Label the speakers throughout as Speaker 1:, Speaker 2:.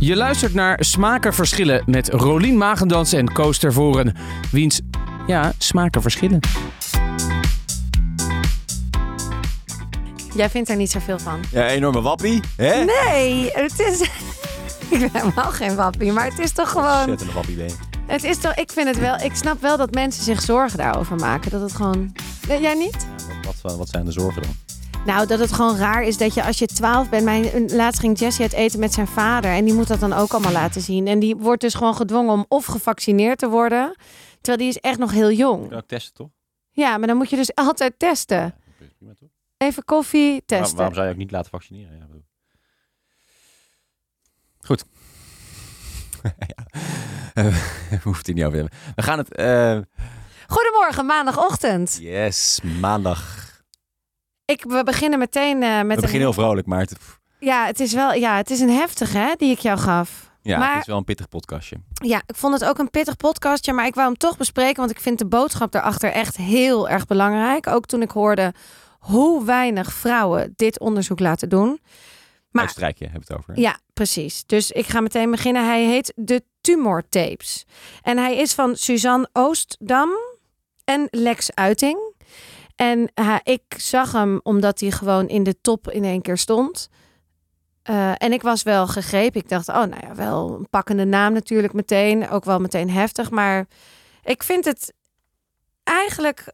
Speaker 1: Je luistert naar Smaken Verschillen met Rolien Magendans en Koos Tervoren. Wiens, ja, smaken verschillen.
Speaker 2: Jij vindt er niet zoveel van.
Speaker 3: Ja, enorme wappie. Hè?
Speaker 2: Nee, het is. Ik ben helemaal geen wappie, maar het is toch gewoon.
Speaker 3: Zet een wappie mee.
Speaker 2: Het is toch, ik vind het wel. Ik snap wel dat mensen zich zorgen daarover maken. Dat het gewoon. Nee, jij niet?
Speaker 3: Wat, wat, wat zijn de zorgen dan?
Speaker 2: Nou, dat het gewoon raar is dat je als je 12 bent. Mijn, laatst ging Jesse het eten met zijn vader. En die moet dat dan ook allemaal laten zien. En die wordt dus gewoon gedwongen om of gevaccineerd te worden. Terwijl die is echt nog heel jong.
Speaker 3: ook testen, toch?
Speaker 2: Ja, maar dan moet je dus altijd testen.
Speaker 3: Prima, toch?
Speaker 2: Even koffie testen.
Speaker 3: waarom zou je ook niet laten vaccineren? Ja, bedoel. Goed. ja. We hoeven het hier niet over te hebben. We gaan het... eh,
Speaker 2: Goedemorgen, maandagochtend.
Speaker 3: yes, maandag.
Speaker 2: Ik, we beginnen meteen eh, met
Speaker 3: We beginnen heel
Speaker 2: een...
Speaker 3: vrolijk, maar het, pff,
Speaker 2: Ja, het is wel. Ja, het is een heftige hè, die ik jou gaf.
Speaker 3: ja,
Speaker 2: Maar-
Speaker 3: het is wel een pittig podcastje.
Speaker 2: Ja, ik vond het ook een pittig podcastje, maar ik wou hem toch bespreken, want ik vind de boodschap daarachter echt heel erg belangrijk. Ook toen ik hoorde hoe weinig vrouwen dit onderzoek laten doen. Maar-
Speaker 3: Uitstrijkje hebben we het over.
Speaker 2: Ja, precies. Dus ik ga meteen beginnen. Hij heet De Tumortapes. En hij is van Suzanne Oostdam en Lex Uiting. En ha, ik zag hem omdat hij gewoon in de top in één keer stond. Eh, en ik was wel gegrepen. Ik dacht, oh nou ja, wel een pakkende naam natuurlijk meteen. Ook wel meteen heftig. Maar ik vind het eigenlijk...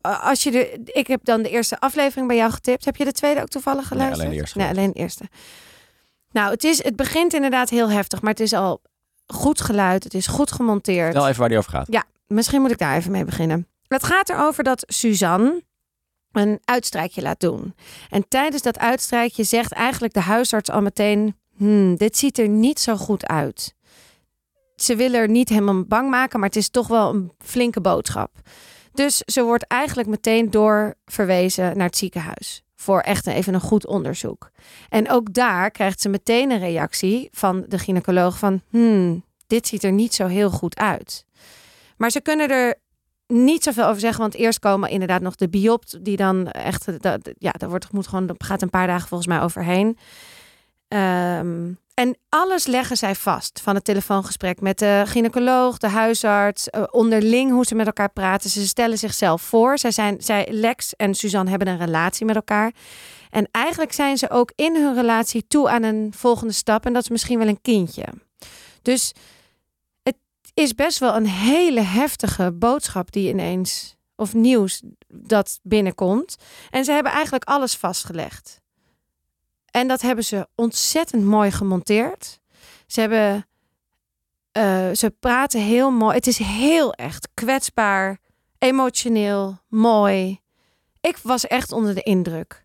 Speaker 2: eh, Als je de, ik heb dan de eerste aflevering bij jou getipt. Heb je de tweede ook toevallig
Speaker 3: Nee, alleen de
Speaker 2: geluisterd?
Speaker 3: eerste
Speaker 2: Nee, alleen de eerste. Nou, het, is, het begint inderdaad heel heftig, maar het is al goed geluid, het is goed gemonteerd.
Speaker 3: Vertel even waar die over gaat.
Speaker 2: Misschien moet ik daar even mee beginnen. Het gaat erover dat Suzanne een uitstrijkje laat doen. En tijdens dat uitstrijkje zegt eigenlijk de huisarts al meteen: "Hmm, dit ziet er niet zo goed uit. Ze wil er niet helemaal bang maken, maar het is toch wel een flinke boodschap. Dus ze wordt eigenlijk meteen doorverwezen naar het ziekenhuis voor echt even een goed onderzoek. En ook daar krijgt ze meteen een reactie van de gynaecoloog van: "Hmm, dit ziet er niet zo heel goed uit." Maar ze kunnen er niet zoveel over zeggen, want eerst komen inderdaad nog de biopt, die dan echt, eh, dat, ja, daar wordt, moet gewoon, dat gaat een paar dagen volgens mij overheen. Ehm, en alles leggen zij vast van het telefoongesprek met de gynaecoloog, de huisarts, eh, onderling hoe ze met elkaar praten. Ze stellen zichzelf voor. Zij zijn, zij, Lex en Suzanne hebben een relatie met elkaar. En eigenlijk zijn ze ook in hun relatie toe aan een volgende stap. En dat is misschien wel een kindje. Dus is best wel een hele heftige boodschap die ineens of nieuws dat binnenkomt. En ze hebben eigenlijk alles vastgelegd. En dat hebben ze ontzettend mooi gemonteerd. Ze hebben eh, ze praten heel mooi. Het is heel echt kwetsbaar, emotioneel, mooi. Ik was echt onder de indruk.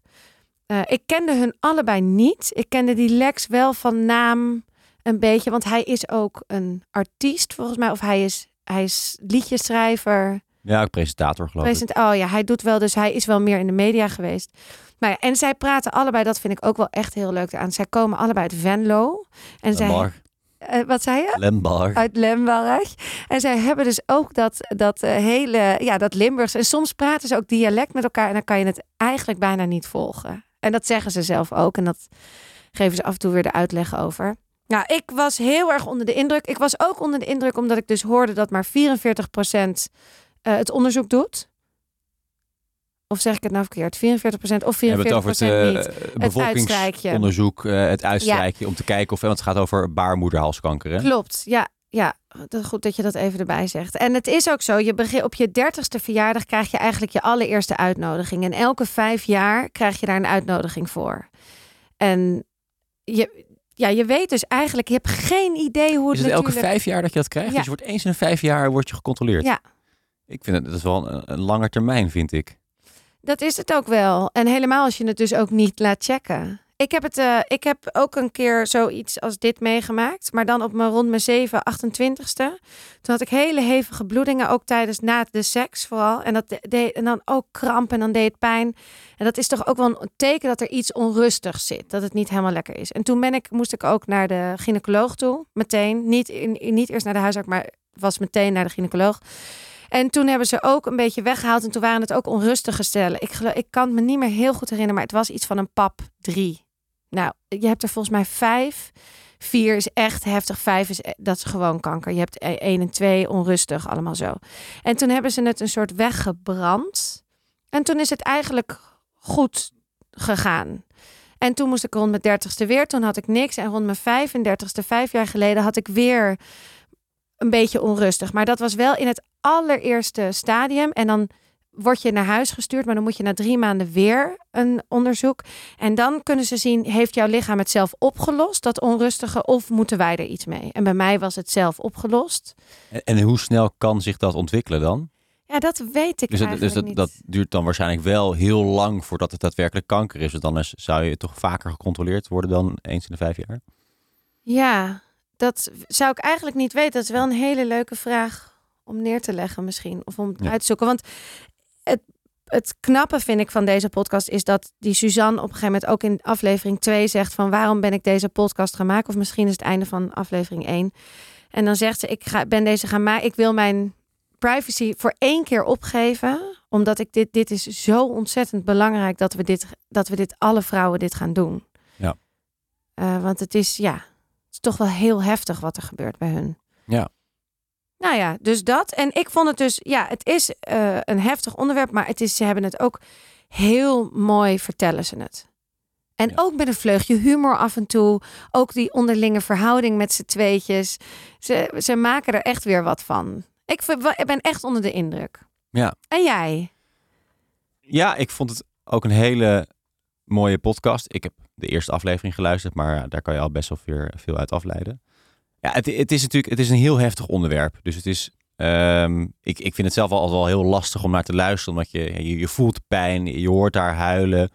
Speaker 2: Eh, ik kende hun allebei niet. Ik kende die Lex wel van naam een beetje, want hij is ook een artiest volgens mij, of hij is, hij is liedjeschrijver.
Speaker 3: Ja, ook presentator geloof ik.
Speaker 2: Present, oh ja, hij doet wel, dus hij is wel meer in de media geweest. Maar ja, en zij praten allebei, dat vind ik ook wel echt heel leuk aan. Zij komen allebei uit Venlo. En zij,
Speaker 3: Lembar.
Speaker 2: Eh, wat zei je?
Speaker 3: Lembar.
Speaker 2: Uit Lemberg. En zij hebben dus ook dat, dat eh, hele, ja, dat Limburgs. En soms praten ze ook dialect met elkaar en dan kan je het eigenlijk bijna niet volgen. En dat zeggen ze zelf ook en dat geven ze af en toe weer de uitleg over. Nou, ik was heel erg onder de indruk. Ik was ook onder de indruk omdat ik dus hoorde dat maar 44% eh, het onderzoek doet. Of zeg ik het nou verkeerd? 44% of 44%
Speaker 3: We hebben het over het eh,
Speaker 2: niet.
Speaker 3: bevolkingsonderzoek, eh, het uitstrijkje, om te kijken of... Want het gaat over baarmoederhalskanker, hè?
Speaker 2: Klopt, ja. Ja, dat, goed dat je dat even erbij zegt. En het is ook zo, je begin, op je dertigste verjaardag krijg je eigenlijk je allereerste uitnodiging. En elke vijf jaar krijg je daar een uitnodiging voor. En je, ja, je weet dus eigenlijk, je hebt geen idee hoe het
Speaker 3: Is het elke
Speaker 2: natuurlijk-
Speaker 3: vijf jaar dat je dat krijgt?
Speaker 2: Ja.
Speaker 3: Dus je wordt eens in de vijf jaar wordt je gecontroleerd.
Speaker 2: Ja.
Speaker 3: Ik vind het, dat is wel een, een langer termijn, vind ik.
Speaker 2: Dat is het ook wel. En helemaal als je het dus ook niet laat checken. Ik heb, het, eh, ik heb ook een keer zoiets als dit meegemaakt. Maar dan op mijn rond mijn 7, 28ste. Toen had ik hele hevige bloedingen. Ook tijdens na de seks vooral. En, dat de- deed, en dan ook kramp en dan deed het pijn. En dat is toch ook wel een teken dat er iets onrustigs zit. Dat het niet helemaal lekker is. En toen ben ik, moest ik ook naar de gynaecoloog toe. Meteen. Niet, in, niet eerst naar de huisarts, maar was meteen naar de gynaecoloog. En toen hebben ze ook een beetje weggehaald. En toen waren het ook onrustige stellen. Ik, gelo- ik kan het me niet meer heel goed herinneren. Maar het was iets van een pap 3. Nou, je hebt er volgens mij vijf. Vier is echt heftig. Vijf is, e- dat is gewoon kanker. Je hebt e- één en twee onrustig, allemaal zo. En toen hebben ze het een soort weggebrand. En toen is het eigenlijk goed gegaan. En toen moest ik rond mijn dertigste weer. Toen had ik niks. En rond mijn 35ste, vijf jaar geleden, had ik weer een beetje onrustig. Maar dat was wel in het allereerste stadium. En dan word je naar huis gestuurd. Maar dan moet je na drie maanden weer een onderzoek. En dan kunnen ze zien, heeft jouw lichaam het zelf opgelost, dat onrustige, of moeten wij er iets mee? En bij mij was het zelf opgelost.
Speaker 3: En, en hoe snel kan zich dat ontwikkelen dan?
Speaker 2: Ja, dat weet ik
Speaker 3: Dus, dat, dus
Speaker 2: eigenlijk
Speaker 3: dat,
Speaker 2: niet.
Speaker 3: dat duurt dan waarschijnlijk wel heel lang voordat het daadwerkelijk kanker is. Want anders zou je toch vaker gecontroleerd worden dan eens in de vijf jaar.
Speaker 2: Ja, dat zou ik eigenlijk niet weten. Dat is wel een hele leuke vraag om neer te leggen misschien. Of om
Speaker 3: Ja.
Speaker 2: uit te zoeken. Want het, het knappe vind ik van deze podcast is dat die Suzanne op een gegeven moment ook in aflevering 2 zegt van waarom ben ik deze podcast gaan maken? Of misschien is het einde van aflevering 1. En dan zegt ze ik ga, ben deze gaan maken. Ik wil mijn privacy voor één keer opgeven. Omdat ik dit, dit is zo ontzettend belangrijk dat we dit, dat we dit alle vrouwen dit gaan doen.
Speaker 3: Ja.
Speaker 2: Eh, want het is, ja, het is toch wel heel heftig wat er gebeurt bij hun.
Speaker 3: Ja.
Speaker 2: Nou ja, dus dat. En ik vond het dus, ja, het is eh, een heftig onderwerp, maar het is, ze hebben het ook heel mooi vertellen ze het. En
Speaker 3: Ja.
Speaker 2: ook met een vleugje humor af en toe. Ook die onderlinge verhouding met z'n tweetjes. Ze, ze maken er echt weer wat van. Ik, vind- ik ben echt onder de indruk.
Speaker 3: Ja.
Speaker 2: En jij?
Speaker 3: Ja, ik vond het ook een hele mooie podcast. Ik heb de eerste aflevering geluisterd, maar ja, daar kan je al best wel weer veel uit afleiden. Ja, het, het is natuurlijk het is een heel heftig onderwerp. Dus het is, ehm, ik, ik vind het zelf al, altijd wel heel lastig om naar te luisteren. Omdat je, je, je voelt pijn, je hoort haar huilen.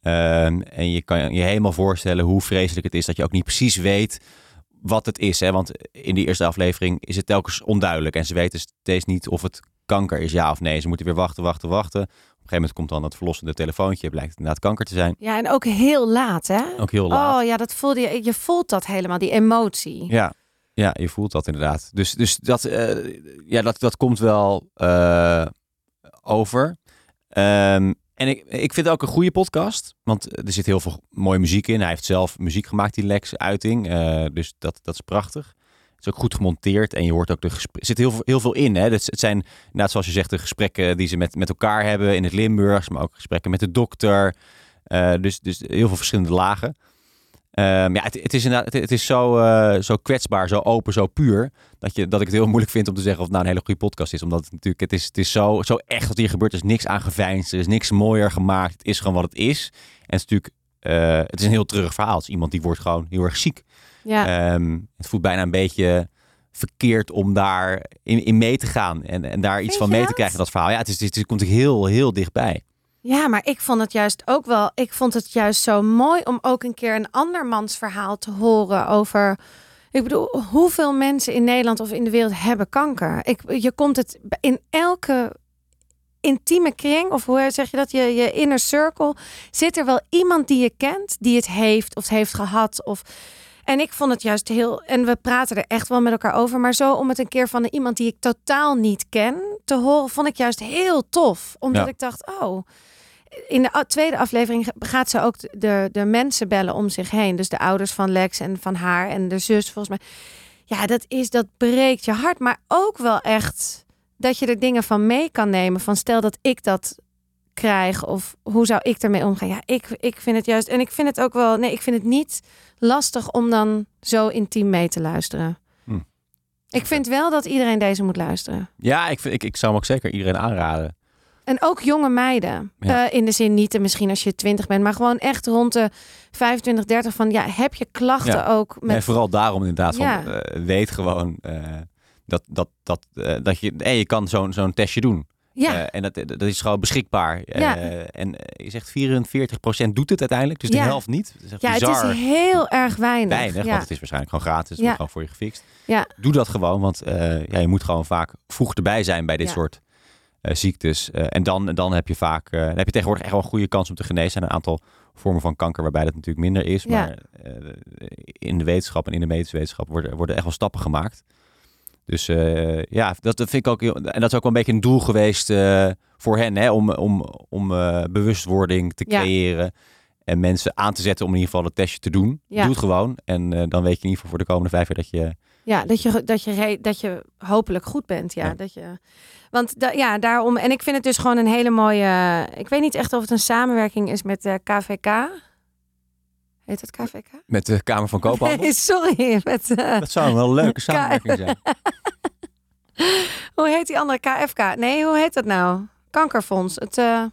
Speaker 3: Ehm, en je kan je helemaal voorstellen hoe vreselijk het is dat je ook niet precies weet wat het is. Hè? Want in die eerste aflevering is het telkens onduidelijk. En ze weten steeds niet of het kanker is, ja of nee. Ze moeten weer wachten, wachten, wachten. Op een gegeven moment komt dan dat verlossende telefoontje. Blijkt het inderdaad kanker te zijn.
Speaker 2: Ja, en ook heel laat, hè?
Speaker 3: Ook heel laat.
Speaker 2: Oh ja, dat voelde je. Je voelt dat helemaal, die emotie.
Speaker 3: Ja, ja je voelt dat inderdaad. Dus, dus dat, eh, ja, dat, dat komt wel eh, over. Ehm, en ik, ik vind het ook een goede podcast. Want er zit heel veel mooie muziek in. Hij heeft zelf muziek gemaakt, die Lex Uiting. eh, dus dat, dat is prachtig. Het is ook goed gemonteerd en je hoort ook de gesprekken. Er zit heel veel, heel veel in. Hè? Het, het zijn, inderdaad, zoals je zegt, de gesprekken die ze met, met elkaar hebben in het Limburgs. Maar ook gesprekken met de dokter. Eh, dus, dus heel veel verschillende lagen. Ehm, ja, het, het is inderdaad, het, het is zo, eh, zo kwetsbaar, zo open, zo puur. Dat, je, dat ik het heel moeilijk vind om te zeggen of het nou een hele goede podcast is. Omdat het natuurlijk, het is, het is zo, zo echt wat hier gebeurt. Er is niks aan geveinsd, er is niks mooier gemaakt. Het is gewoon wat het is. En het is natuurlijk, eh, het is een heel treurig verhaal. Het is iemand die wordt gewoon heel erg ziek.
Speaker 2: ja.
Speaker 3: Ehm, het voelt bijna een beetje verkeerd om daar in, in mee te gaan. En, en daar iets
Speaker 2: Vind
Speaker 3: van
Speaker 2: je
Speaker 3: mee te
Speaker 2: dat?
Speaker 3: krijgen, dat verhaal. Ja, het, is, het, is- het komt heel, heel dichtbij.
Speaker 2: Ja, maar ik vond het juist ook wel. Ik vond het juist zo mooi om ook een keer een andermans verhaal te horen over. Ik bedoel, hoeveel mensen in Nederland of in de wereld hebben kanker? Ik, je komt het in elke intieme kring, of hoe zeg je dat, je, je inner circle, zit er wel iemand die je kent, die het heeft of het heeft gehad. Of... En ik vond het juist heel, en we praten er echt wel met elkaar over, maar zo om het een keer van iemand die ik totaal niet ken te horen, vond ik juist heel tof. Omdat
Speaker 3: Ja.
Speaker 2: ik dacht, oh, in de a- tweede aflevering ge- gaat ze ook de, de mensen bellen om zich heen. Dus de ouders van Lex en van haar en de zus volgens mij. Ja, dat is, dat breekt je hart. Maar ook wel echt dat je er dingen van mee kan nemen. Van stel dat ik dat krijg of hoe zou ik ermee omgaan? Ja, ik, ik vind het juist. En ik vind het ook wel, nee, ik vind het niet lastig om dan zo intiem mee te luisteren.
Speaker 3: Hm.
Speaker 2: Ik vind wel dat iedereen deze moet luisteren.
Speaker 3: Ja, ik, vind- ik, ik zou hem ook zeker iedereen aanraden.
Speaker 2: En ook jonge meiden.
Speaker 3: Ja.
Speaker 2: Eh, in de zin niet, eh, misschien als je 20 bent, maar gewoon echt rond de 25, 30 van ja, heb je klachten
Speaker 3: Ja.
Speaker 2: ook met
Speaker 3: En vooral daarom inderdaad, van,
Speaker 2: Ja.
Speaker 3: eh, weet gewoon eh, dat, dat, dat, eh, dat je, hey, je kan zo'n zo'n testje doen.
Speaker 2: ja,
Speaker 3: Eh, en dat, dat is gewoon beschikbaar. Eh,
Speaker 2: Ja.
Speaker 3: en eh, je zegt 44% doet het uiteindelijk, dus
Speaker 2: Ja.
Speaker 3: de helft niet. Dat is echt
Speaker 2: ja, het
Speaker 3: bizar
Speaker 2: is heel erg weinig.
Speaker 3: weinig,
Speaker 2: ja.
Speaker 3: want het is waarschijnlijk gewoon gratis, het
Speaker 2: Ja.
Speaker 3: wordt gewoon voor je gefixt.
Speaker 2: Ja.
Speaker 3: Doe dat gewoon, want eh, ja, je moet gewoon vaak vroeg erbij zijn bij dit
Speaker 2: Ja.
Speaker 3: soort eh, ziektes. Eh, en dan, dan heb je vaak, eh, dan heb je tegenwoordig echt wel een goede kans om te genezen. Er zijn een aantal vormen van kanker waarbij dat natuurlijk minder is.
Speaker 2: Ja.
Speaker 3: Maar eh, in de wetenschap en in de medische wetenschap worden, worden echt wel stappen gemaakt. Dus eh, ja, dat, dat vind ik ook heel, en dat is ook wel een beetje een doel geweest eh, voor hen hè, om, om, om eh, bewustwording te
Speaker 2: Ja.
Speaker 3: creëren. en mensen aan te zetten om in ieder geval het testje te doen.
Speaker 2: Ja.
Speaker 3: Doe het gewoon. En eh, dan weet je in ieder geval voor de komende vijf jaar dat je...
Speaker 2: Ja, dat je, dat je, re- dat je hopelijk goed bent. Ja,
Speaker 3: Ja.
Speaker 2: Dat je, want da- ja, daarom. En ik vind het dus gewoon een hele mooie. Ik weet niet echt of het een samenwerking is met eh, KVK. Heet dat KVK?
Speaker 3: Met de Kamer van Koophandel.
Speaker 2: Nee, sorry. Met, eh,
Speaker 3: Dat zou een wel leuke samenwerking zijn.
Speaker 2: hoe heet die andere KFK? Nee, hoe heet dat nou? Kankerfonds. Het, eh,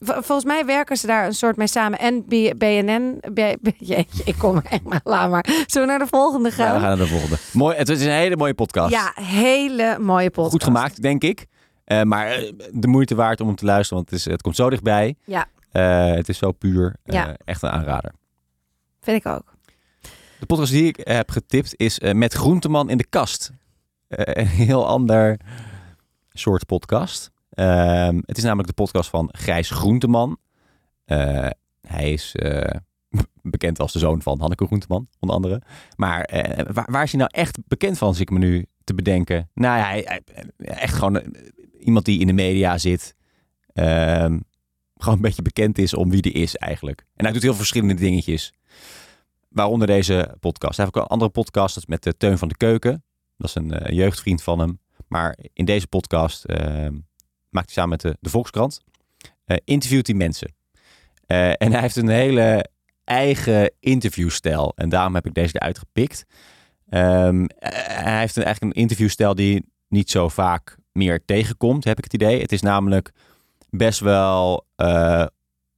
Speaker 2: v- volgens mij werken ze daar een soort mee samen. En B- BNN. B- B- jeetje, ik kom er echt maar. Laat maar. Zullen we naar de volgende
Speaker 3: Ja, we
Speaker 2: gaan?
Speaker 3: gaan naar de volgende. Mooi, het is een hele mooie podcast.
Speaker 2: Ja, hele mooie podcast.
Speaker 3: Goed gemaakt, denk ik. Eh, maar eh, de moeite waard om hem te luisteren, want het, is, het komt zo dichtbij.
Speaker 2: Ja.
Speaker 3: Eh, het is zo puur. Eh,
Speaker 2: Ja.
Speaker 3: Echt een aanrader.
Speaker 2: Vind ik ook.
Speaker 3: De podcast die ik heb getipt is eh, Met Groenteman in de Kast. Eh, een heel ander soort podcast. Ehm, het is namelijk de podcast van Gijs Groenteman. Eh, hij is eh, bekend als de zoon van Hanneke Groenteman, onder andere. Maar eh, waar, waar is hij nou echt bekend van, zit ik me nu te bedenken? Nou ja, hij, hij- echt gewoon eh, iemand die in de media zit. Ehm, gewoon een beetje bekend is om wie die is eigenlijk. En hij doet heel verschillende dingetjes. Waaronder deze podcast. Hij heeft ook een andere podcast, dat is met eh, Teun van de Keuken. Dat is een eh, jeugdvriend van hem. Maar in deze podcast ehm, maakt hij samen met de, de Volkskrant. eh, interviewt hij mensen. Eh, en hij heeft een hele eigen interviewstijl. En daarom heb ik deze eruit gepikt. Ehm, eh, hij heeft een, eigenlijk een interviewstijl die je niet zo vaak meer tegenkomt, heb ik het idee. Het is namelijk best wel eh,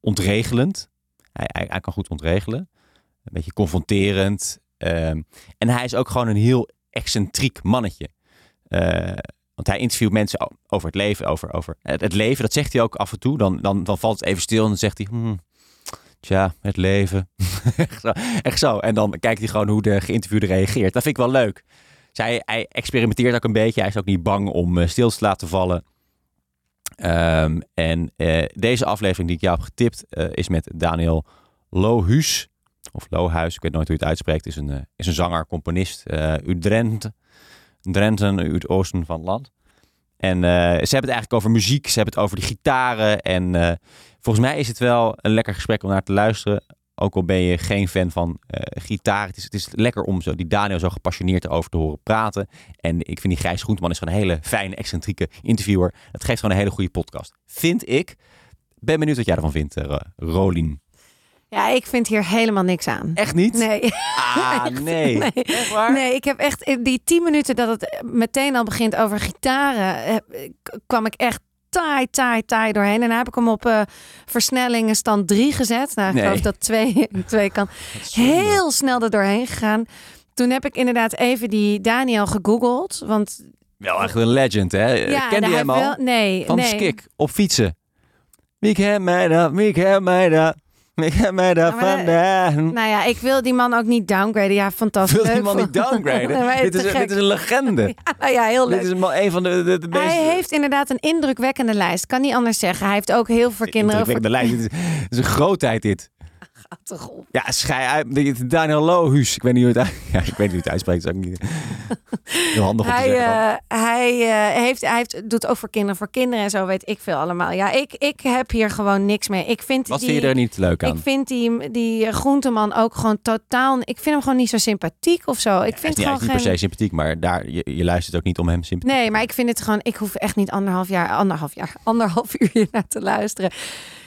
Speaker 3: ontregelend. Hij, hij, hij kan goed ontregelen. Een beetje confronterend. Ehm, en hij is ook gewoon een heel excentriek mannetje. Eh, want hij interviewt mensen o- over het leven, over, over het, het leven. Dat zegt hij ook af en toe. Dan, dan, dan valt het even stil en dan zegt hij... "Hmm, tja, het leven. echt, zo, echt zo. En dan kijkt hij gewoon hoe de geïnterviewde reageert. Dat vind ik wel leuk. Dus hij, hij experimenteert ook een beetje. Hij is ook niet bang om eh, stil te laten vallen. Ehm, en eh, deze aflevering die ik jou heb getipt eh, is met Daniel Lohuus. Of Lohuis, ik weet nooit hoe je het uitspreekt. Is een, eh, is een zanger, componist. eh uit Drenthe. Drenthe, uit het oosten van het land. En eh, ze hebben het eigenlijk over muziek. Ze hebben het over de gitaren. En eh, volgens mij is het wel een lekker gesprek om naar te luisteren. Ook al ben je geen fan van eh, gitaar. Het is, het is lekker om zo, die Daniel zo gepassioneerd over te horen praten. En ik vind die Grijs Groenteman is gewoon een hele fijne, excentrieke interviewer. Het geeft gewoon een hele goede podcast. Vind ik. Ben benieuwd wat jij ervan vindt, eh, Rolien.
Speaker 2: Ja, ik vind hier helemaal niks aan.
Speaker 3: Echt niet?
Speaker 2: Nee,
Speaker 3: Ah, nee.
Speaker 2: nee.
Speaker 3: Echt waar?
Speaker 2: nee, ik heb echt in die tien minuten dat het eh, meteen al begint over gitaren, eh, k- kwam ik echt taai, taai, taai doorheen. En dan heb ik hem op eh, versnellingen stand 3 gezet. Nou, ik
Speaker 3: Nee.
Speaker 2: geloof dat twee, twee kan. Heel snel er doorheen gegaan. Toen heb ik inderdaad even die Daniel gegoogeld. Want
Speaker 3: Wel echt een legend, hè?
Speaker 2: ja,
Speaker 3: Eh, Kende
Speaker 2: hij
Speaker 3: je hem al?
Speaker 2: wel- Nee,
Speaker 3: Van de
Speaker 2: nee.
Speaker 3: Skik, op fietsen. Wie ken mij dat? Wie ken mij dat? Wie ken mij dat
Speaker 2: Ja, maar dat-
Speaker 3: vandaan?
Speaker 2: Nou ja, ik wil die man ook niet downgraden. Ja, fantastisch.
Speaker 3: Wil
Speaker 2: Leuk
Speaker 3: die man
Speaker 2: voor-
Speaker 3: niet downgraden?
Speaker 2: Nee, maar
Speaker 3: dit, is,
Speaker 2: te gek.
Speaker 3: dit is een legende.
Speaker 2: Nou ja, heel leuk.
Speaker 3: dit is een, man- een van de, de, de meest...
Speaker 2: Hij heeft inderdaad een indrukwekkende lijst. Kan niet anders zeggen. Hij heeft ook heel veel kinderen.
Speaker 3: Indrukwekkende lijst. Dit is, dit is een grootheid, dit.
Speaker 2: Voor...
Speaker 3: Ja, schij uit. Dit is Daniel Lohuus. Ik weet niet hoe het, uit- ja, ik weet niet hoe het uitspreekt. Dat is ook niet heel handig om te
Speaker 2: Hij,
Speaker 3: zeggen. dan.
Speaker 2: eh, hij, eh, heeft, hij heeft, doet ook voor kinderen voor kinderen en zo weet ik veel allemaal. Ja, ik, ik heb hier gewoon niks mee. Ik vind
Speaker 3: Wat
Speaker 2: die,
Speaker 3: vind je er niet leuk aan?
Speaker 2: Ik vind die, die groenteman ook gewoon totaal... Ik vind hem gewoon niet zo sympathiek of zo. Ik
Speaker 3: hij is
Speaker 2: vind
Speaker 3: niet, hij
Speaker 2: gewoon
Speaker 3: is niet
Speaker 2: geen...
Speaker 3: per se sympathiek, maar daar, je, je luistert ook niet om hem sympathiek.
Speaker 2: Nee, maar ik vind het gewoon... Ik hoef echt niet anderhalf jaar... Anderhalf jaar? Anderhalf uur hier naar te luisteren.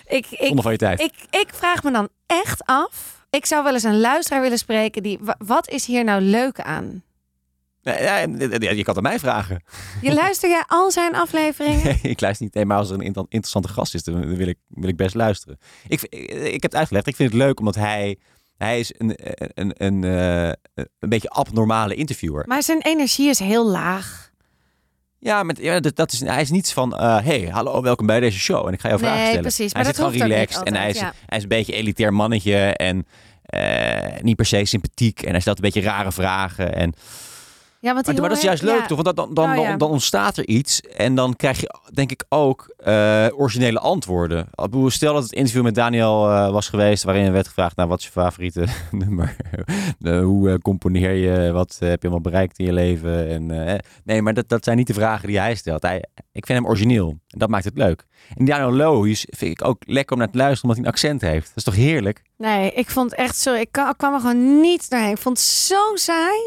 Speaker 2: Ik, ik,
Speaker 3: Zonder van je tijd.
Speaker 2: ik, ik vraag me dan echt af... Ik zou wel eens een luisteraar willen spreken die... wa- Wat is hier nou leuk aan?
Speaker 3: Nee, ja, ja, je kan het aan mij vragen.
Speaker 2: Je luister jij al zijn afleveringen?
Speaker 3: Nee, ik luister niet. Nee, maar als er een inter- interessante gast is, dan dan wil ik, wil ik best luisteren. Ik, v- ik heb het uitgelegd. Ik vind het leuk omdat hij, hij is een, een, een, eh, een beetje abnormale interviewer.
Speaker 2: Maar zijn energie is heel laag.
Speaker 3: Ja, met, ja dat, dat is, hij is niets van, eh, hey, hallo, welkom bij deze show. En ik ga jou vragen
Speaker 2: Nee,
Speaker 3: stellen.
Speaker 2: precies,
Speaker 3: hij
Speaker 2: maar
Speaker 3: zit
Speaker 2: dat
Speaker 3: gewoon
Speaker 2: hoeft ook niet
Speaker 3: relaxed en hij is,
Speaker 2: altijd,
Speaker 3: hij is een beetje een elitair mannetje en eh, niet per se sympathiek. En hij stelt een beetje rare vragen. En
Speaker 2: Ja, want die
Speaker 3: Maar, maar dat is
Speaker 2: horen-
Speaker 3: juist leuk,
Speaker 2: ja.
Speaker 3: toch? Want dan, dan,
Speaker 2: Nou ja.
Speaker 3: dan, dan ontstaat er iets. En dan krijg je, denk ik, ook eh, originele antwoorden. Ik bedoel, Stel dat het interview met Daniel eh, was geweest... waarin werd gevraagd, nou, wat is je favoriete nummer? Eh, hoe eh, componeer je? Wat eh, heb je allemaal bereikt in je leven? En, eh, nee, maar dat, dat zijn niet de vragen die hij stelt. Hij, ik vind hem origineel. En dat maakt het leuk. En Daniel Lohuis vind ik ook lekker om naar te luisteren... omdat hij een accent heeft. Dat is toch heerlijk?
Speaker 2: Nee, ik vond echt, sorry, ik kan- ik kwam er gewoon niet doorheen. Ik vond het zo saai.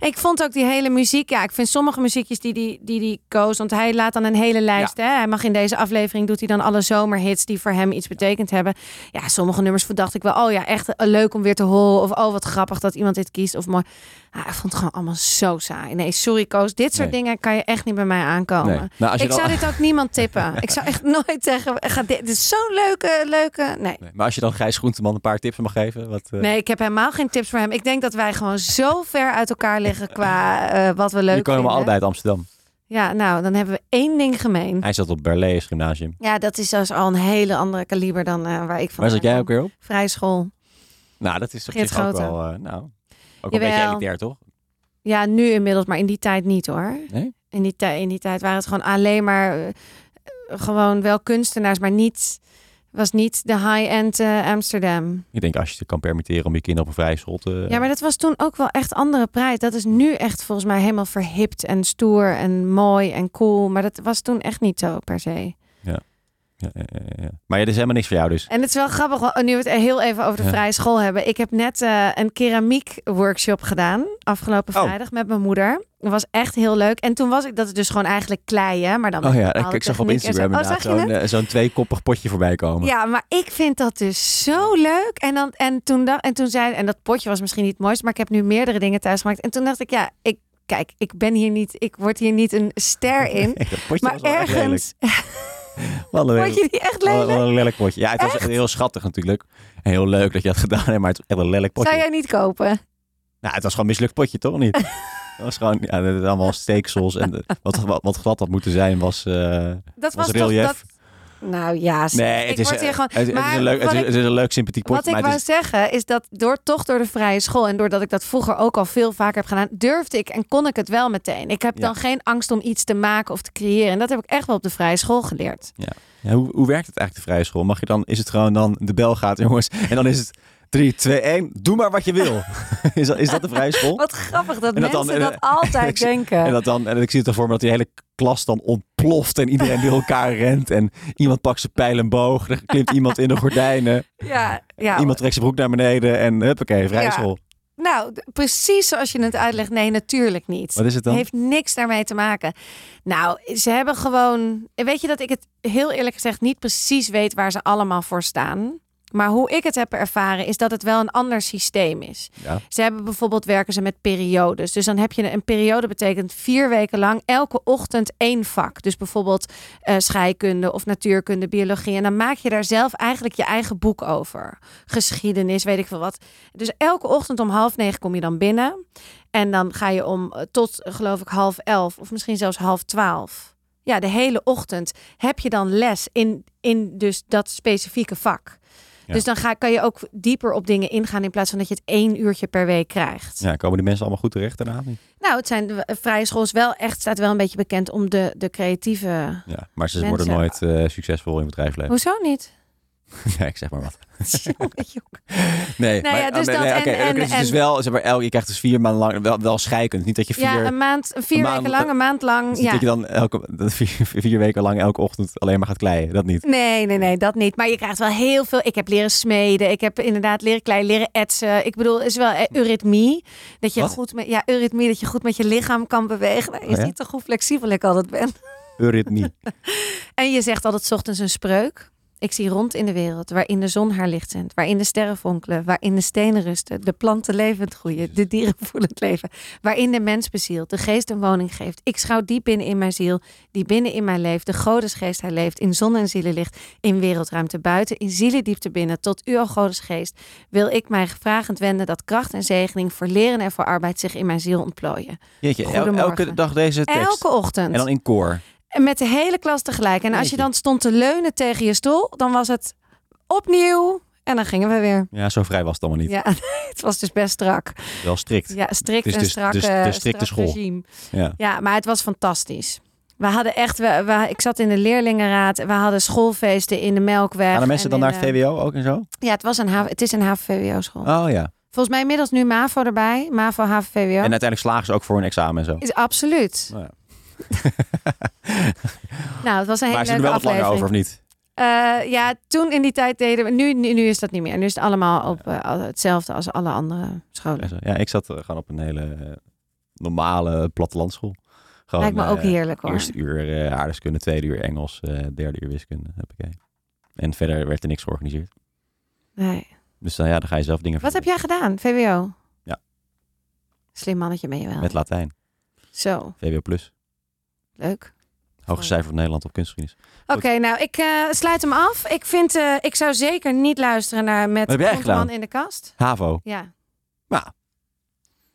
Speaker 2: Ik vond ook die hele muziek, ja, ik vind sommige muziekjes die die, die, die koos, want hij laat dan een hele lijst, hè. Hij mag in deze aflevering, doet hij dan alle zomerhits die voor hem iets betekend hebben. Ja, sommige nummers dacht ik wel, oh ja, echt eh, leuk om weer te horen. Of oh, wat grappig dat iemand dit kiest. Of mooi. Ah, ik vond het gewoon allemaal zo saai. Nee, sorry Koos, dit soort
Speaker 3: Nee.
Speaker 2: dingen kan je echt niet bij mij aankomen.
Speaker 3: Nee. Nou, als
Speaker 2: Oh,
Speaker 3: je
Speaker 2: Ik
Speaker 3: dan-
Speaker 2: zou dit ook niemand tippen. Ik zou echt nooit zeggen, ga dit, dit is zo'n leuke, leuke... Nee.
Speaker 3: Nee, Maar als je dan Gijs Groenteman een paar tips mag geven... Wat, eh,
Speaker 2: Nee, ik heb helemaal geen tips voor hem. Ik denk dat wij gewoon zo ver uit elkaar liggen qua eh, wat we leuk
Speaker 3: nu komen we
Speaker 2: vinden.
Speaker 3: allebei uit Amsterdam.
Speaker 2: Ja, nou, dan hebben we één ding gemeen.
Speaker 3: Hij zat op Berlees Gymnasium.
Speaker 2: Ja, dat is dus al een hele andere kaliber dan eh, waar ik van
Speaker 3: Waar zat jij
Speaker 2: kom.
Speaker 3: ook weer op?
Speaker 2: Vrij school.
Speaker 3: Nou, dat is op
Speaker 2: Geert
Speaker 3: zich ook
Speaker 2: Grote.
Speaker 3: wel... eh, nou, ook een
Speaker 2: Jawel.
Speaker 3: beetje elitair, toch?
Speaker 2: Ja, nu inmiddels, maar in die tijd niet hoor.
Speaker 3: Nee?
Speaker 2: In die, tij- in die tijd waren het gewoon alleen maar eh, gewoon wel kunstenaars, maar niet was niet de high-end eh, Amsterdam.
Speaker 3: Ik denk, als je het kan permitteren om je kinderen op een vrije eh, school te...
Speaker 2: Ja, maar dat was toen ook wel echt andere prijs. Dat is nu echt volgens mij helemaal verhipt en stoer en mooi en cool. Maar dat was toen echt niet zo per se.
Speaker 3: Ja, ja, ja, ja. Maar ja, er is helemaal niks voor jou dus.
Speaker 2: En het is wel grappig, want oh, nu we het heel even over de
Speaker 3: Ja.
Speaker 2: vrije school hebben. Ik heb net eh, een keramiek workshop gedaan afgelopen
Speaker 3: Oh.
Speaker 2: vrijdag met mijn moeder. Dat was echt heel leuk. En toen was ik, dat is dus gewoon eigenlijk klei, hè? Maar dan met
Speaker 3: Oh ja, ik,
Speaker 2: bepaalde
Speaker 3: ik zag op
Speaker 2: techniek en zo.
Speaker 3: Instagram
Speaker 2: Oh,
Speaker 3: inderdaad
Speaker 2: zag je het?
Speaker 3: zo'n eh, zo'n tweekoppig potje voorbij komen.
Speaker 2: Ja, maar ik vind dat dus zo leuk. En, dan, en, toen, dacht, en toen zei en dat potje was misschien niet het mooiste, maar ik heb nu meerdere dingen thuis gemaakt. En toen dacht ik, ja, ik, kijk, ik ben hier niet, ik word hier niet een ster in.
Speaker 3: Nee, dat potje
Speaker 2: maar
Speaker 3: was wel echt lelijk. Oh,
Speaker 2: ergens
Speaker 3: Wat een
Speaker 2: word
Speaker 3: lelijk.
Speaker 2: je die echt
Speaker 3: Wat een-
Speaker 2: lelijk.
Speaker 3: wat een lelijk potje. Ja, het was echt heel schattig natuurlijk. En heel leuk dat je dat gedaan hebt, maar het was echt een lelijk potje.
Speaker 2: Zou jij niet kopen?
Speaker 3: Nou, het was gewoon een mislukt potje, toch niet? Het was gewoon, ja, dat is allemaal steeksels. En eh, wat, wat, wat glad had moeten zijn was, eh,
Speaker 2: Dat
Speaker 3: was
Speaker 2: was, toch
Speaker 3: relief.
Speaker 2: dat. Nou ja, zeg,
Speaker 3: Nee,
Speaker 2: ik
Speaker 3: het is, eh,
Speaker 2: word hier gewoon.
Speaker 3: het- het, is
Speaker 2: maar
Speaker 3: een
Speaker 2: wat
Speaker 3: leuk, het, is,
Speaker 2: ik-
Speaker 3: het is een leuk sympathiek potje.
Speaker 2: Wat ik
Speaker 3: maar
Speaker 2: wou
Speaker 3: het is,
Speaker 2: zeggen is dat door toch door de vrije school en doordat ik dat vroeger ook al veel vaker heb gedaan, durfde ik en kon ik het wel meteen. Ik heb
Speaker 3: Ja.
Speaker 2: dan geen angst om iets te maken of te creëren. En dat heb ik echt wel op de vrije school geleerd.
Speaker 3: Ja, hoe, hoe werkt het eigenlijk, de vrije school? Mag je dan, is het gewoon dan, de bel gaat, jongens. En dan is het 3, 2, 1, doe maar wat je wil. is, dat, is dat de vrije school?
Speaker 2: Wat grappig dat
Speaker 3: En dat
Speaker 2: mensen
Speaker 3: dan- en-
Speaker 2: dat altijd
Speaker 3: ik-
Speaker 2: denken.
Speaker 3: En, dat dan, en ik zie het ervoor me dat die hele klas dan ontploft en iedereen door elkaar rent. En iemand pakt zijn pijl en boog, er klimt iemand in de gordijnen.
Speaker 2: ja, ja.
Speaker 3: Iemand trekt zijn broek naar beneden en huppakee, vrije
Speaker 2: Ja.
Speaker 3: school.
Speaker 2: Nou, d- precies zoals je het uitlegt. Nee, natuurlijk niet.
Speaker 3: Wat is het dan?
Speaker 2: Heeft niks daarmee te maken. Nou, ze hebben gewoon. Weet je dat ik het heel eerlijk gezegd niet precies weet waar ze allemaal voor staan. Maar hoe ik het heb ervaren is dat het wel een ander systeem is.
Speaker 3: Ja.
Speaker 2: Ze hebben bijvoorbeeld werken ze met periodes. Dus dan heb je een, een periode betekent vier weken lang elke ochtend één vak. Dus bijvoorbeeld eh, scheikunde of natuurkunde, biologie. En dan maak je daar zelf eigenlijk je eigen boek over. Geschiedenis, weet ik veel wat. Dus elke ochtend om half negen kom je dan binnen. En dan ga je om eh, tot, eh, geloof ik, half elf of misschien zelfs half twaalf. Ja, de hele ochtend heb je dan les in, in dus dat specifieke vak.
Speaker 3: Ja.
Speaker 2: Dus dan ga, kan je ook dieper op dingen ingaan in plaats van dat je het één uurtje per week krijgt.
Speaker 3: Ja, komen die mensen allemaal goed terecht daarna? of niet?
Speaker 2: Nou, het zijn de eh, vrije school is wel echt, staat wel een beetje bekend om de, de creatieve.
Speaker 3: Ja, maar ze
Speaker 2: Mensen-
Speaker 3: worden nooit eh, succesvol in het bedrijfsleven.
Speaker 2: Hoezo niet?
Speaker 3: nee, ik zeg maar wat.
Speaker 2: Jongetje,
Speaker 3: Nee,
Speaker 2: Nou ja,
Speaker 3: maar-
Speaker 2: dus
Speaker 3: nee,
Speaker 2: dat
Speaker 3: nee,
Speaker 2: en-
Speaker 3: oké,
Speaker 2: en-
Speaker 3: oké, dus het is
Speaker 2: en-
Speaker 3: wel, zeg maar, elk, je krijgt dus vier maanden lang wel, wel scheikunde. Niet dat je vier,
Speaker 2: Ja, een maand, vier
Speaker 3: een maand-
Speaker 2: weken lang, een maand lang.
Speaker 3: niet
Speaker 2: Ja.
Speaker 3: dat je dan elke, dat vier, vier weken lang elke ochtend alleen maar gaat kleien. Dat niet.
Speaker 2: Nee, nee, nee, dat niet. Maar je krijgt wel heel veel. Ik heb leren smeden. Ik heb inderdaad leren klei, leren etsen. Ik bedoel, is wel eh, eurythmie. Dat je
Speaker 3: Wat?
Speaker 2: goed met ja, eurythmie, dat je goed met je lichaam kan bewegen. Nou, je
Speaker 3: Oh ja?
Speaker 2: ziet toch hoe flexibel ik altijd ben.
Speaker 3: Eurythmie.
Speaker 2: En je zegt altijd 's ochtends een spreuk. Ik zie rond in de wereld, waarin de zon haar licht zendt, waarin de sterren fonkelen, waarin de stenen rusten, de planten levend groeien, de dieren voelen het leven, waarin de mens bezielt, de geest een woning geeft. Ik schouw die binnen in mijn ziel, die binnen in mij leeft, de godesgeest hij leeft, in zon en zielenlicht, in wereldruimte buiten, in zielendiepte binnen, tot u, o godesgeest, wil ik mij vragend wenden dat kracht en zegening voor leren en voor arbeid zich in mijn ziel ontplooien.
Speaker 3: Jeetje, el- elke
Speaker 2: Goedemorgen.
Speaker 3: dag deze tekst.
Speaker 2: Elke ochtend.
Speaker 3: En dan in koor.
Speaker 2: En Met de hele klas tegelijk. En als je
Speaker 3: Jeetje.
Speaker 2: dan stond te leunen tegen je stoel, dan was het opnieuw En dan gingen we weer.
Speaker 3: Ja, zo vrij was het allemaal niet.
Speaker 2: Ja, het was dus best strak.
Speaker 3: Wel strikt.
Speaker 2: Ja, strikt
Speaker 3: Het is
Speaker 2: en
Speaker 3: dus-
Speaker 2: strak,
Speaker 3: dus de
Speaker 2: eh,
Speaker 3: strikte
Speaker 2: strak
Speaker 3: school.
Speaker 2: regime.
Speaker 3: Ja.
Speaker 2: Ja, maar het was fantastisch. We hadden echt, we, we- ik zat in de leerlingenraad. We hadden schoolfeesten in de Melkweg.
Speaker 3: Gaan de
Speaker 2: en
Speaker 3: mensen dan naar
Speaker 2: in,
Speaker 3: het VWO ook en zo?
Speaker 2: eh, Ja, het, was een, H- het is een HVVO-school.
Speaker 3: Oh ja.
Speaker 2: Volgens mij inmiddels nu MAVO erbij. MAVO, HVVO.
Speaker 3: En uiteindelijk slagen ze ook voor een examen en zo.
Speaker 2: Is absoluut.
Speaker 3: Nou ja.
Speaker 2: Nou, het was een hele
Speaker 3: Maar ze
Speaker 2: leuke
Speaker 3: doen wel
Speaker 2: aflevering.
Speaker 3: wat langer over, of niet?
Speaker 2: Eh, ja, toen in die tijd deden we... Nu, nu, nu is dat niet meer. Nu is het allemaal op, eh, al- hetzelfde als alle andere scholen.
Speaker 3: Ja, zo. Ja, ik zat eh, gewoon op een hele eh, normale plattelandschool. Gewoon,
Speaker 2: Lijkt me ook
Speaker 3: eh,
Speaker 2: heerlijk hoor.
Speaker 3: Eerste uur eh, aardrijkskunde, tweede uur Engels, eh, derde uur wiskunde. Huppakee. En verder werd er niks georganiseerd.
Speaker 2: Nee.
Speaker 3: Dus dan, ja, dan ga je zelf dingen
Speaker 2: Wat heb jij gedaan? VWO?
Speaker 3: Ja.
Speaker 2: Slim mannetje ben je wel.
Speaker 3: Met Latijn,
Speaker 2: Zo,
Speaker 3: VWO+. Plus.
Speaker 2: leuk.
Speaker 3: Hoogste
Speaker 2: Oh.
Speaker 3: cijfer van Nederland op kunstgeschiedenis.
Speaker 2: Oké, nou, ik eh, sluit hem af. Ik, vind, eh, ik zou zeker niet luisteren naar Met
Speaker 3: Wat heb jij
Speaker 2: Groenteman
Speaker 3: gedaan?
Speaker 2: in de kast.
Speaker 3: HAVO.
Speaker 2: Ja.
Speaker 3: Nou.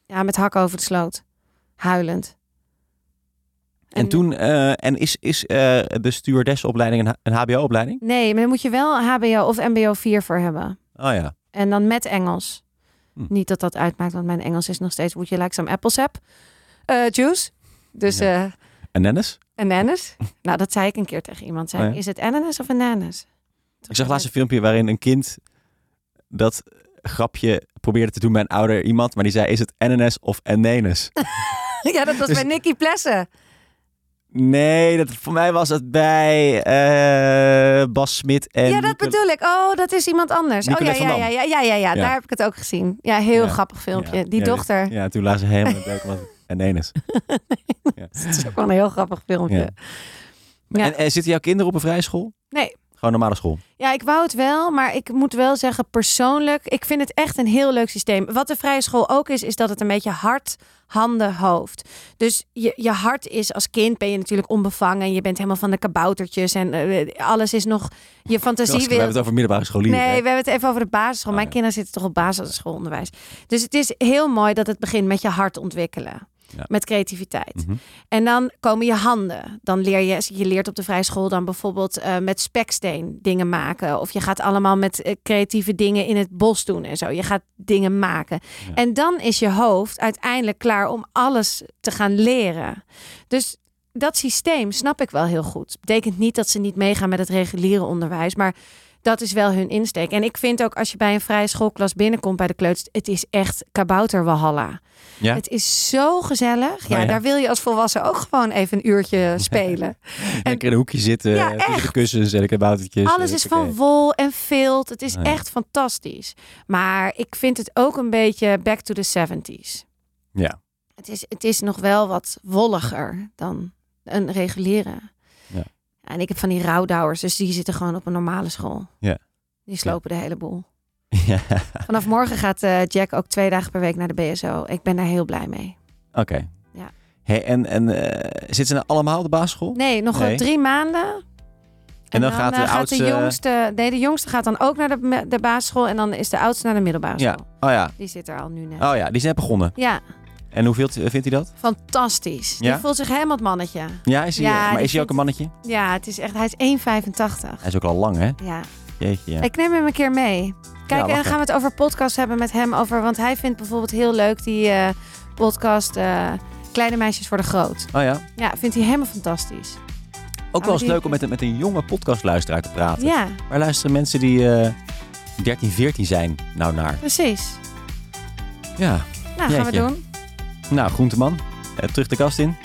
Speaker 2: Ja, met hak over de sloot. Huilend.
Speaker 3: En, toen, eh, en is, is eh, de stewardessopleiding een, H- een HBO-opleiding?
Speaker 2: Nee, maar dan moet je wel HBO of MBO 4 voor hebben.
Speaker 3: Oh ja.
Speaker 2: En dan met Engels.
Speaker 3: Hm.
Speaker 2: Niet dat dat uitmaakt, want mijn Engels is nog steeds... Would you like some apples heb? Eh, juice. Dus
Speaker 3: Ja.
Speaker 2: eh
Speaker 3: En Nennis?
Speaker 2: ananas. nou, dat zei ik een keer tegen iemand. Zei, ik,
Speaker 3: Oh ja.
Speaker 2: Is het ananas of ananas?
Speaker 3: Ik zag laatst een filmpje waarin een kind dat grapje probeerde te doen bij een ouder iemand. Maar die zei, is het NNS of NNS?
Speaker 2: ja, dat was
Speaker 3: Dus-
Speaker 2: bij Nicky Plessen.
Speaker 3: Nee, dat, voor mij was het bij eh, Bas Smit en...
Speaker 2: ja, dat
Speaker 3: Nicola-
Speaker 2: bedoel ik. Oh, dat is iemand anders. Oh ja,
Speaker 3: Nicolette
Speaker 2: ja,
Speaker 3: van
Speaker 2: ja,
Speaker 3: Dam.
Speaker 2: ja, ja, ja, ja.
Speaker 3: Ja.
Speaker 2: Daar heb ik het ook gezien. Ja, heel
Speaker 3: Ja.
Speaker 2: grappig filmpje.
Speaker 3: Ja.
Speaker 2: Die
Speaker 3: Ja,
Speaker 2: dochter.
Speaker 3: Ja, toen lazen ze helemaal leuk wat NNS.
Speaker 2: Dat is ook wel een heel grappig filmpje.
Speaker 3: Ja.
Speaker 2: Ja.
Speaker 3: En, en zitten jouw kinderen op een vrije school?
Speaker 2: Nee.
Speaker 3: Gewoon normale school?
Speaker 2: Ja, ik wou het wel, maar ik moet wel zeggen persoonlijk, ik vind het echt een heel leuk systeem. Wat de vrije school ook is, is dat het een beetje hart, handen, hoofd. Dus je, je hart is als kind ben je natuurlijk onbevangen. Je bent helemaal van de kaboutertjes en eh, alles is nog je
Speaker 3: Als-
Speaker 2: fantasie
Speaker 3: we hebben
Speaker 2: wil.
Speaker 3: het over middelbare scholieren.
Speaker 2: Nee,
Speaker 3: hè?
Speaker 2: we hebben het even over de basisschool.
Speaker 3: Oh,
Speaker 2: Mijn
Speaker 3: ja.
Speaker 2: kinderen zitten toch op basisschoolonderwijs. Dus het is heel mooi dat het begint met je hart ontwikkelen.
Speaker 3: Ja.
Speaker 2: Met creativiteit.
Speaker 3: Mhm.
Speaker 2: En dan komen je handen. Dan leer je, je leert op de vrijschool dan bijvoorbeeld eh, met speksteen dingen maken. Of je gaat allemaal met eh, creatieve dingen in het bos doen en zo. Je gaat dingen maken.
Speaker 3: Ja.
Speaker 2: En dan is je hoofd uiteindelijk klaar om alles te gaan leren. Dus dat systeem snap ik wel heel goed. Betekent niet dat ze niet meegaan met het reguliere onderwijs, maar dat is wel hun insteek. En ik vind ook als je bij een vrije schoolklas binnenkomt bij de kleuters, het is echt kabouterwalhalla.
Speaker 3: Ja?
Speaker 2: Het is zo gezellig. Ja,
Speaker 3: Oh ja.
Speaker 2: daar wil je als volwassen ook gewoon even een uurtje spelen.
Speaker 3: Lekker in een hoekje zitten,
Speaker 2: Ja,
Speaker 3: tussen de kussens en de kaboutertjes.
Speaker 2: Alles is van wol en vilt. Het is
Speaker 3: Ah, Ja.
Speaker 2: echt fantastisch. Maar ik vind het ook een beetje back to the 70s.
Speaker 3: Ja.
Speaker 2: Het is, het is nog wel wat wolliger dan een reguliere.
Speaker 3: Ja.
Speaker 2: En ik heb van die rouwdouwers, dus die zitten gewoon op een normale school.
Speaker 3: Ja.
Speaker 2: Die slopen de hele boel.
Speaker 3: Ja,
Speaker 2: Vanaf morgen gaat eh, Jack ook twee dagen per week naar de BSO. Ik ben daar heel blij mee.
Speaker 3: oké.
Speaker 2: Ja.
Speaker 3: Hey, en en eh, zitten ze nou allemaal op de basisschool?
Speaker 2: Nee, nog
Speaker 3: Nee.
Speaker 2: drie maanden.
Speaker 3: En dan gaat de
Speaker 2: eh,
Speaker 3: oudste-
Speaker 2: jongste... Nee, de jongste gaat dan ook naar de, me- de basisschool. En dan is de oudste naar de middelbare
Speaker 3: Ja.
Speaker 2: school.
Speaker 3: Oh ja.
Speaker 2: Die zit er al nu net.
Speaker 3: Oh ja, die zijn begonnen.
Speaker 2: Ja,
Speaker 3: En hoeveel t- vindt hij dat?
Speaker 2: fantastisch.
Speaker 3: Ja?
Speaker 2: Die voelt zich helemaal het mannetje.
Speaker 3: Ja, is hij, eh,
Speaker 2: Ja,
Speaker 3: maar
Speaker 2: die
Speaker 3: is hij ook een mannetje?
Speaker 2: Ja, het is echt... Hij is 1,85.
Speaker 3: Hij is ook al lang, hè?
Speaker 2: Ja.
Speaker 3: Jeetje, ja.
Speaker 2: Ik neem hem een keer mee. Kijk, en dan
Speaker 3: lachen.
Speaker 2: gaan we het over podcast hebben met hem. Over, want hij vindt bijvoorbeeld heel leuk die eh, podcast... eh, Kleine meisjes worden groot.
Speaker 3: Oh ja.
Speaker 2: Ja, vindt hij helemaal fantastisch.
Speaker 3: Ook wel eens
Speaker 2: Oh, die-
Speaker 3: leuk om met, een- met een jonge podcastluisteraar te praten.
Speaker 2: Ja,
Speaker 3: Waar luisteren mensen die eh, 13, 14 zijn nou naar?
Speaker 2: precies.
Speaker 3: Ja.
Speaker 2: Nou, gaan we
Speaker 3: Jeetje.
Speaker 2: doen.
Speaker 3: Nou, groenteman. eh, terug de kast in.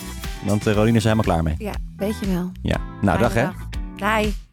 Speaker 3: Want eh Rolien is er helemaal klaar mee.
Speaker 2: Ja, weet je wel.
Speaker 3: Ja. Nou, dag hè.
Speaker 2: Bye.